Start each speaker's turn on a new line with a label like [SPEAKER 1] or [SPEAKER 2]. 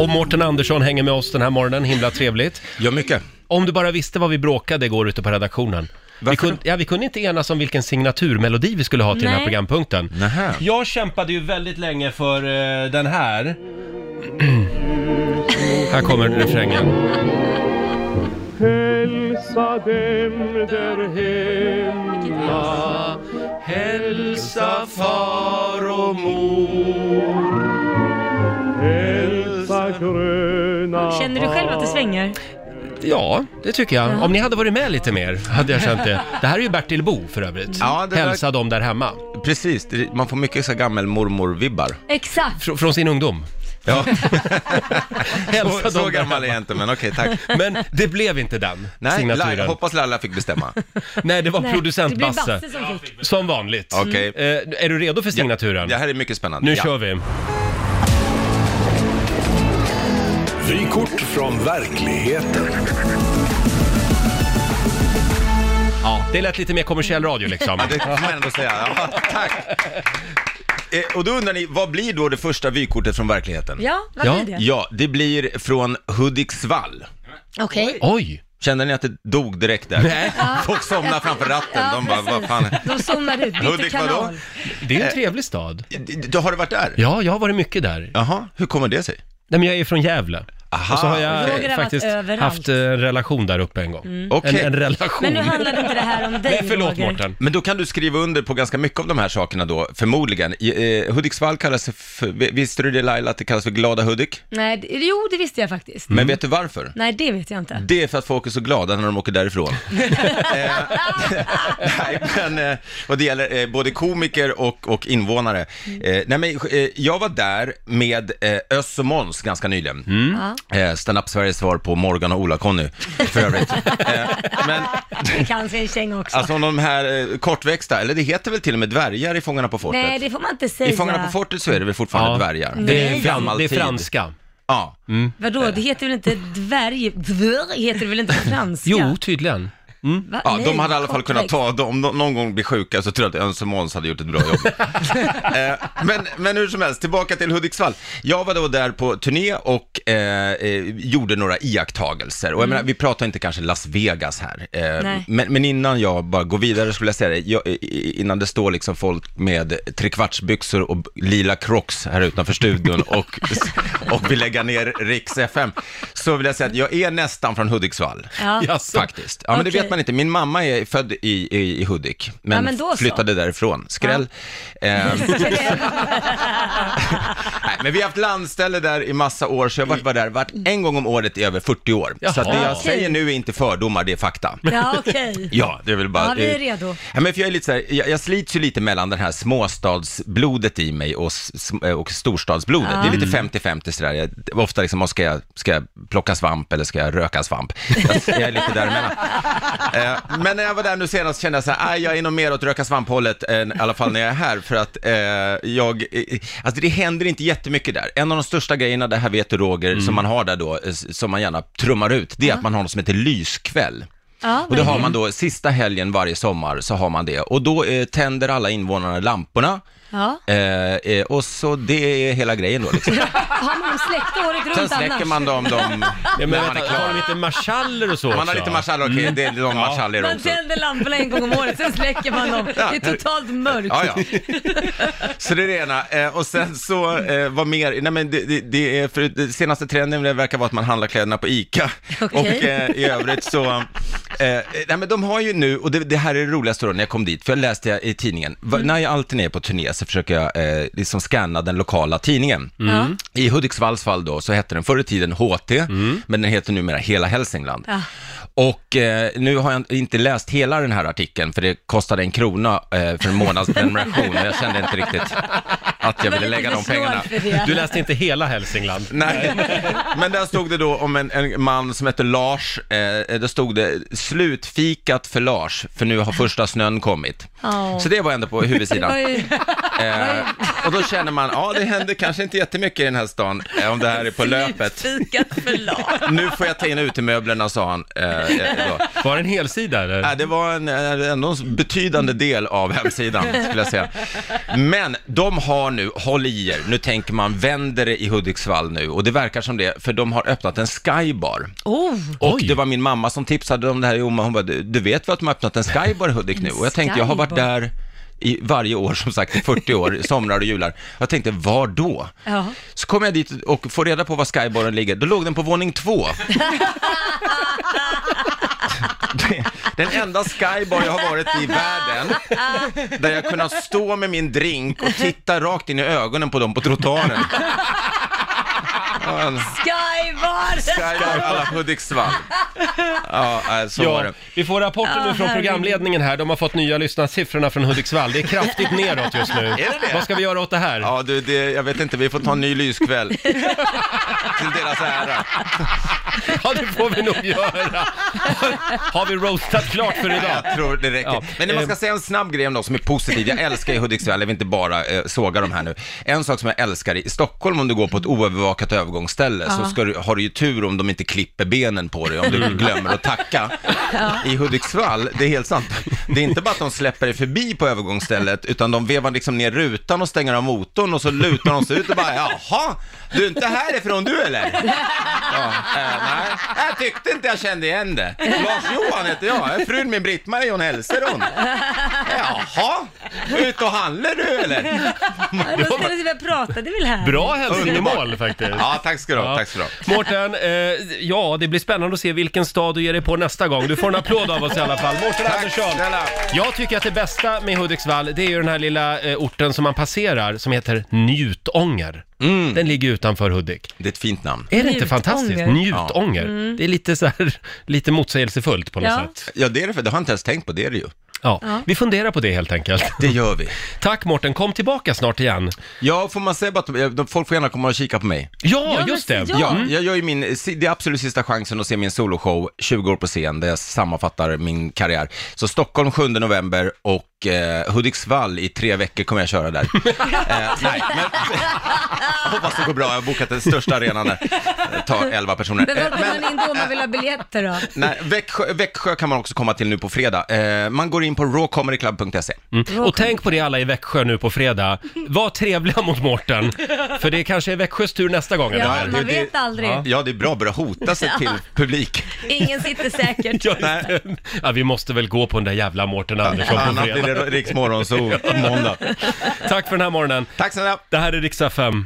[SPEAKER 1] Och Mårten Andersson hänger med oss den här morgonen, himla trevligt.
[SPEAKER 2] Ja, mycket.
[SPEAKER 1] Om du bara visste vad vi bråkade igår ute på redaktionen. Vi
[SPEAKER 2] Varför
[SPEAKER 1] kunde, ja, vi kunde inte enas om vilken signaturmelodi vi skulle ha till den här
[SPEAKER 3] Nej.
[SPEAKER 1] programpunkten.
[SPEAKER 2] Nähä.
[SPEAKER 1] Jag kämpade ju väldigt länge för eh, den här. här kommer refrängen.
[SPEAKER 4] Hälsa dem där hemma
[SPEAKER 1] Hälsa far och mor.
[SPEAKER 4] Hälsa gröna
[SPEAKER 3] Känner du själv att det svänger?
[SPEAKER 1] Ja, det tycker jag. Om ni hade varit med lite mer hade jag känt det. Det här är ju Bertil Bo för övrigt.
[SPEAKER 2] Ja, det där-
[SPEAKER 1] Hälsa dem där hemma.
[SPEAKER 2] Precis, det- man får mycket så här gammelmormor-vibbar. Alltså,
[SPEAKER 3] Exakt!
[SPEAKER 1] Fr- från sin ungdom.
[SPEAKER 2] Ja,
[SPEAKER 1] Hälsa
[SPEAKER 2] så,
[SPEAKER 1] dem
[SPEAKER 2] så
[SPEAKER 1] där
[SPEAKER 2] gammal
[SPEAKER 1] hemma.
[SPEAKER 2] är jag inte, men okej, tack.
[SPEAKER 1] Men det blev inte den
[SPEAKER 2] Nej, Laila,
[SPEAKER 1] signaturen.
[SPEAKER 2] hoppas Laila fick bestämma.
[SPEAKER 1] Nej, det var
[SPEAKER 3] Nej,
[SPEAKER 1] producent
[SPEAKER 3] det blir
[SPEAKER 1] Basse.
[SPEAKER 3] Basse som fick.
[SPEAKER 1] Som vanligt.
[SPEAKER 2] Okej.
[SPEAKER 1] Eh, är du redo för signaturen?
[SPEAKER 2] Det här är mycket spännande.
[SPEAKER 1] Nu
[SPEAKER 2] Ja.
[SPEAKER 1] kör vi.
[SPEAKER 5] Vykort från verkligheten.
[SPEAKER 1] Ja, det lät lite mer kommersiell radio liksom.
[SPEAKER 2] Ja, det kan man ändå säga. Ja, tack. Eh, och då undrar ni, vad blir då det första vykortet från verkligheten?
[SPEAKER 3] Ja, vad
[SPEAKER 1] Ja.
[SPEAKER 3] blir det?
[SPEAKER 2] Ja, det blir från Hudiksvall.
[SPEAKER 3] Okej.
[SPEAKER 1] Oj!
[SPEAKER 2] Kände ni att det dog direkt där? Nej. Folk somnade framför ratten, de bara, vad fan.
[SPEAKER 3] De somnade ut, bytte
[SPEAKER 2] Hudik, vadå?
[SPEAKER 3] kanal.
[SPEAKER 1] Det är
[SPEAKER 2] Eh.
[SPEAKER 1] en trevlig stad.
[SPEAKER 2] D- d- Har du varit där?
[SPEAKER 1] Ja, jag har varit mycket där.
[SPEAKER 2] Jaha, hur kommer det sig?
[SPEAKER 1] Nej, men jag är från Gävle.
[SPEAKER 2] Aha,
[SPEAKER 1] Och så har jag
[SPEAKER 3] Roger har varit
[SPEAKER 1] faktiskt
[SPEAKER 3] överallt.
[SPEAKER 1] haft eh, en relation där uppe en gång.
[SPEAKER 2] Mm. Okej.
[SPEAKER 1] En, en relation.
[SPEAKER 3] Men nu handlade inte det här om dig,
[SPEAKER 1] Nej, förlåt
[SPEAKER 3] Roger.
[SPEAKER 1] Mårten.
[SPEAKER 2] Men då kan du skriva under på ganska mycket av de här sakerna då, förmodligen. I, eh, Hudiksvall kallas för, vi- visste du det Laila, att det kallas för Glada Hudik?
[SPEAKER 3] Nej, det- jo det visste jag faktiskt.
[SPEAKER 2] Men vet du varför?
[SPEAKER 3] Nej, det vet jag inte.
[SPEAKER 2] Det är för att folk är så glada när de åker därifrån. Eh, nej, men, eh, och det gäller eh, både komiker och, och invånare. Eh, nej, men, eh, jag var där med eh, Öss och Måns ganska nyligen.
[SPEAKER 3] Mm.
[SPEAKER 2] Eh, Stand-up Sveriges svar på Morgan och Ola-Conny, för övrigt. eh, men,
[SPEAKER 3] Det kan sin käng också.
[SPEAKER 2] alltså om de här eh, kortväxta, eller det heter väl till och med dvärgar i Fångarna på fortet?
[SPEAKER 3] Nej, det får man inte säga.
[SPEAKER 2] I Fångarna på fortet så är det väl fortfarande dvärgar?
[SPEAKER 1] Det är,
[SPEAKER 2] en
[SPEAKER 1] fran,
[SPEAKER 2] gammal
[SPEAKER 1] det är
[SPEAKER 2] tid.
[SPEAKER 1] franska.
[SPEAKER 2] Ja.
[SPEAKER 3] Vadå, det heter väl inte dvärg? Dvärg heter det väl inte på franska?
[SPEAKER 1] Jo, tydligen.
[SPEAKER 3] Va?
[SPEAKER 2] Ja,
[SPEAKER 3] Nej,
[SPEAKER 2] de hade i alla fall kunnat
[SPEAKER 3] kortväxt.
[SPEAKER 2] ta, de- om de någon gång blir sjuka så tror jag att Öns och Måns hade gjort ett bra jobb. eh, men, men hur som helst, tillbaka till Hudiksvall. Jag var då där på turné och eh, eh, gjorde några iakttagelser. Och jag menar, vi pratar inte kanske Las Vegas här. Eh,
[SPEAKER 3] Mm. Nej.
[SPEAKER 2] men, men innan jag bara går vidare skulle jag säga det, jag, i- i- innan det står liksom folk med trekvartsbyxor och b- lila crocs här utanför studion och, och vill lägga ner Riks FM, så vill jag säga att jag är nästan från Hudiksvall.
[SPEAKER 3] Ja.
[SPEAKER 1] Jaså.
[SPEAKER 2] Faktiskt. Ja, men det
[SPEAKER 3] Okej.
[SPEAKER 2] vet man inte. Min mamma är född i, i, i Hudik, men,
[SPEAKER 3] Ja, men då så.
[SPEAKER 2] flyttade därifrån. Skräll. Ehm, nej, men vi har haft landställe där i massa år, så jag har varit- varit där vart en gång om året i över 40 år. Så att det jag
[SPEAKER 1] Jaha.
[SPEAKER 2] säger nu är inte fördomar, det är fakta.
[SPEAKER 3] Ja, okej.
[SPEAKER 2] Ja, det är väl bara...
[SPEAKER 3] Ja, vi är redo.
[SPEAKER 2] Ja, men för jag, är lite så här, jag, jag slits ju lite mellan den här småstadsblodet i mig och, s- s- och storstadsblodet. Det är lite 50-50 sådär. Jag, ofta liksom, "Åh, ska jag, ska jag plocka svamp eller ska jag röka svamp? Jag, jag är lite däremellan. Eh, men när jag var där nu senast kände jag så här, "Aj, jag är nog mer åt röka svamp-hållet, än, i alla fall när jag är här, för att eh, jag, eh, alltså det händer inte jättemycket där. En av de största grejerna, det här vet du Roger,
[SPEAKER 3] Mm.
[SPEAKER 2] som man har där då, eh, s- som man gärna trummar ut, det är att man har något som heter lyskväll.
[SPEAKER 3] Ja,
[SPEAKER 2] Och det
[SPEAKER 3] men-
[SPEAKER 1] Mm.
[SPEAKER 2] har man då sista helgen varje sommar så har man det. Och då eh, tänder alla invånarna lamporna.
[SPEAKER 3] ja.
[SPEAKER 2] Eh, eh, och så det är hela grejen då liksom.
[SPEAKER 3] Har man dem släckta året runt
[SPEAKER 2] Sen
[SPEAKER 3] annars?
[SPEAKER 2] släcker man dem, dem
[SPEAKER 1] Ja, men
[SPEAKER 2] när man
[SPEAKER 1] vänta, Mm. har
[SPEAKER 2] är
[SPEAKER 1] de
[SPEAKER 2] klar.
[SPEAKER 1] inte marschaller och så
[SPEAKER 2] Man har
[SPEAKER 1] också?
[SPEAKER 2] lite marschaller, okej, det är de marschaller
[SPEAKER 3] Man
[SPEAKER 2] också.
[SPEAKER 3] tänder lamporna en gång om året, sen släcker man dem. Det är totalt mörkt.
[SPEAKER 2] Ja, ja. Så det är det ena. Eh, och sen så, eh, vad mer? Nej, men det, det, det är, för det senaste trenden det verkar vara att man handlar kläderna på ICA.
[SPEAKER 3] Okej.
[SPEAKER 2] Och eh, i övrigt så, eh, nej men de har ju nu, och det, det här är det roligaste då när jag kom dit, för jag läste jag i tidningen, Va-
[SPEAKER 3] Mm.
[SPEAKER 2] när jag alltid är på turné så försöker jag eh, liksom scanna den lokala tidningen.
[SPEAKER 3] Mm.
[SPEAKER 2] I Hudiksvalls fall då, så hette den förr i tiden HT, men den heter numera Hela Hälsingland.
[SPEAKER 3] Mm. Ja.
[SPEAKER 2] Och eh, nu har jag inte läst hela den här artikeln, för det kostade en krona eh, för en månads prenumeration, och jag kände inte riktigt att jag ville lägga de pengarna.
[SPEAKER 3] För det.
[SPEAKER 1] Du läste inte hela Hälsingland?
[SPEAKER 2] Nej, men där stod det då om en, en man som hette Lars, eh, där stod det slutfikat för Lars, för nu har första snön kommit.
[SPEAKER 3] Ja.
[SPEAKER 2] Så det var ändå på huvudsidan.
[SPEAKER 3] Vad är-
[SPEAKER 2] Eh, och då känner man, ja det händer kanske inte jättemycket i den här stan, eh, om det här är på löpet.
[SPEAKER 3] Fikat förlag.
[SPEAKER 2] Nu får jag ta in utemöblerna, sa han. Eh, eh, då.
[SPEAKER 1] Var det en helsida eller?
[SPEAKER 2] Ja, det var en, eh, ändå en betydande del av hemsidan, skulle jag säga. Men de har man nu, håll i er, nu tänker man vänder det i Hudiksvall nu och det verkar som det, för de har öppnat en skybar.
[SPEAKER 3] Oh,
[SPEAKER 2] Och
[SPEAKER 1] Oj.
[SPEAKER 2] det var min mamma som tipsade om det här i Oma, hon bara, du du vet väl att de har öppnat en skybar i Hudik nu? Och jag tänkte, jag har varit
[SPEAKER 3] skybar.
[SPEAKER 2] där i varje år, som sagt, i 40 år, somrar och jular. Jag tänkte, var då?
[SPEAKER 3] Ja.
[SPEAKER 2] Så kom jag dit och får reda på var skybaren ligger, då låg den på våning två. Det- Den enda skybar jag har varit i världen, där jag kunnat stå med min drink och titta rakt in i ögonen på dem på trottoaren. Ja, en
[SPEAKER 3] skybar!
[SPEAKER 2] Skybar alla Hudiksvall. Ja, nej, så var
[SPEAKER 1] Ja,
[SPEAKER 2] det.
[SPEAKER 1] vi får rapporter nu från
[SPEAKER 3] herregud.
[SPEAKER 1] programledningen här. De har fått nya lyssnarsiffrorna från Hudiksvall. Det är kraftigt neråt just nu.
[SPEAKER 2] det det?
[SPEAKER 1] Vad ska vi göra åt det här?
[SPEAKER 2] Ja, du, det, jag vet inte, vi får ta en ny lyskväll. Till deras ära.
[SPEAKER 1] Ja, det får vi nog göra. Har vi roastat klart för idag?
[SPEAKER 2] Jag tror det räcker.
[SPEAKER 1] Ja,
[SPEAKER 2] Men när man
[SPEAKER 1] eh,
[SPEAKER 2] ska säga en snabb grej om något som är positiv, jag älskar i Hudiksvall, jag vill inte bara eh, såga de här nu. En sak som jag älskar i Stockholm, om du går på ett oövervakat övergångsställe, så ska du, har du ju tur om de inte klipper benen på dig, om du glömmer att tacka. I Hudiksvall, det är helt sant, det är inte bara att de släpper dig förbi på övergångsstället, utan de vevar liksom ner rutan och stänger av motorn och så lutar de sig ut och bara, jaha, du är inte härifrån du eller? Ja, eh, nej, jag tyckte inte jag kände igen det. Lars-Johan heter jag, jag är frun min Britt-Marie, hon hälsar hon. Jaha, ut och handlar du eller?
[SPEAKER 3] Då ska vi se, vi pratade väl här?
[SPEAKER 1] Bra hälsingemål faktiskt.
[SPEAKER 2] Ja, tack ska du ha,
[SPEAKER 1] Ja.
[SPEAKER 2] tack ska du ha.
[SPEAKER 1] Mårten, eh, ja det blir spännande att se vilken stad du ger dig på nästa gång. Du får en applåd av oss i alla fall. Mårten
[SPEAKER 2] Tack
[SPEAKER 1] Andersson!
[SPEAKER 2] snälla.
[SPEAKER 1] Jag tycker att det bästa med Hudiksvall, det är ju den här lilla eh, orten som man passerar som heter Njutånger.
[SPEAKER 2] Mm.
[SPEAKER 1] Den ligger utanför Hudik.
[SPEAKER 2] Det är ett fint namn.
[SPEAKER 1] Är det inte
[SPEAKER 3] Njutånger. Mm.
[SPEAKER 1] fantastiskt? Njutånger. Det är lite så här, lite motsägelsefullt på något
[SPEAKER 3] Ja.
[SPEAKER 1] sätt.
[SPEAKER 2] Ja, det är det, för det har jag inte ens tänkt på, det är det ju.
[SPEAKER 1] Ja. Vi funderar på det helt enkelt.
[SPEAKER 2] Det gör vi.
[SPEAKER 1] Tack Mårten, kom tillbaka snart igen.
[SPEAKER 2] Ja, får man säga bara att eh, folk får gärna komma och kika på mig.
[SPEAKER 1] Ja,
[SPEAKER 3] men
[SPEAKER 1] just
[SPEAKER 3] se,
[SPEAKER 1] det!
[SPEAKER 3] ja.
[SPEAKER 2] Ja, Mm. jag gör ju min, det är absolut sista chansen att se min soloshow, 20 år på scen, där jag sammanfattar min karriär. Så Stockholm 7 november och eh, Hudiksvall i tre veckor kommer jag köra där. eh, nej, men jag hoppas det går bra, jag har bokat den största arenan där. Det tar 11 personer.
[SPEAKER 3] Men
[SPEAKER 2] Eh,
[SPEAKER 3] var kommer man in då om man vill ha biljetter då?
[SPEAKER 2] nej, Växjö, Växjö kan man också komma till nu på fredag. Eh, man går in på rawcomedyclub.se.
[SPEAKER 1] Mm. Och tänk på det alla i Växjö nu på fredag. Var trevliga mot Mårten, för det kanske är Växjös tur nästa gång. eller?
[SPEAKER 3] Ja, man vet aldrig.
[SPEAKER 2] Ja, det är bra att börja hota sig till publik.
[SPEAKER 3] Ingen sitter säkert.
[SPEAKER 1] Ja, ja, vi måste väl gå på den där jävla Mårten Andersson på
[SPEAKER 2] Annars blir
[SPEAKER 1] fredag.
[SPEAKER 2] det Riks Morgonzoo måndag.
[SPEAKER 1] Tack för den här morgonen.
[SPEAKER 2] Tack snälla.
[SPEAKER 1] Det här är Riksdag 5.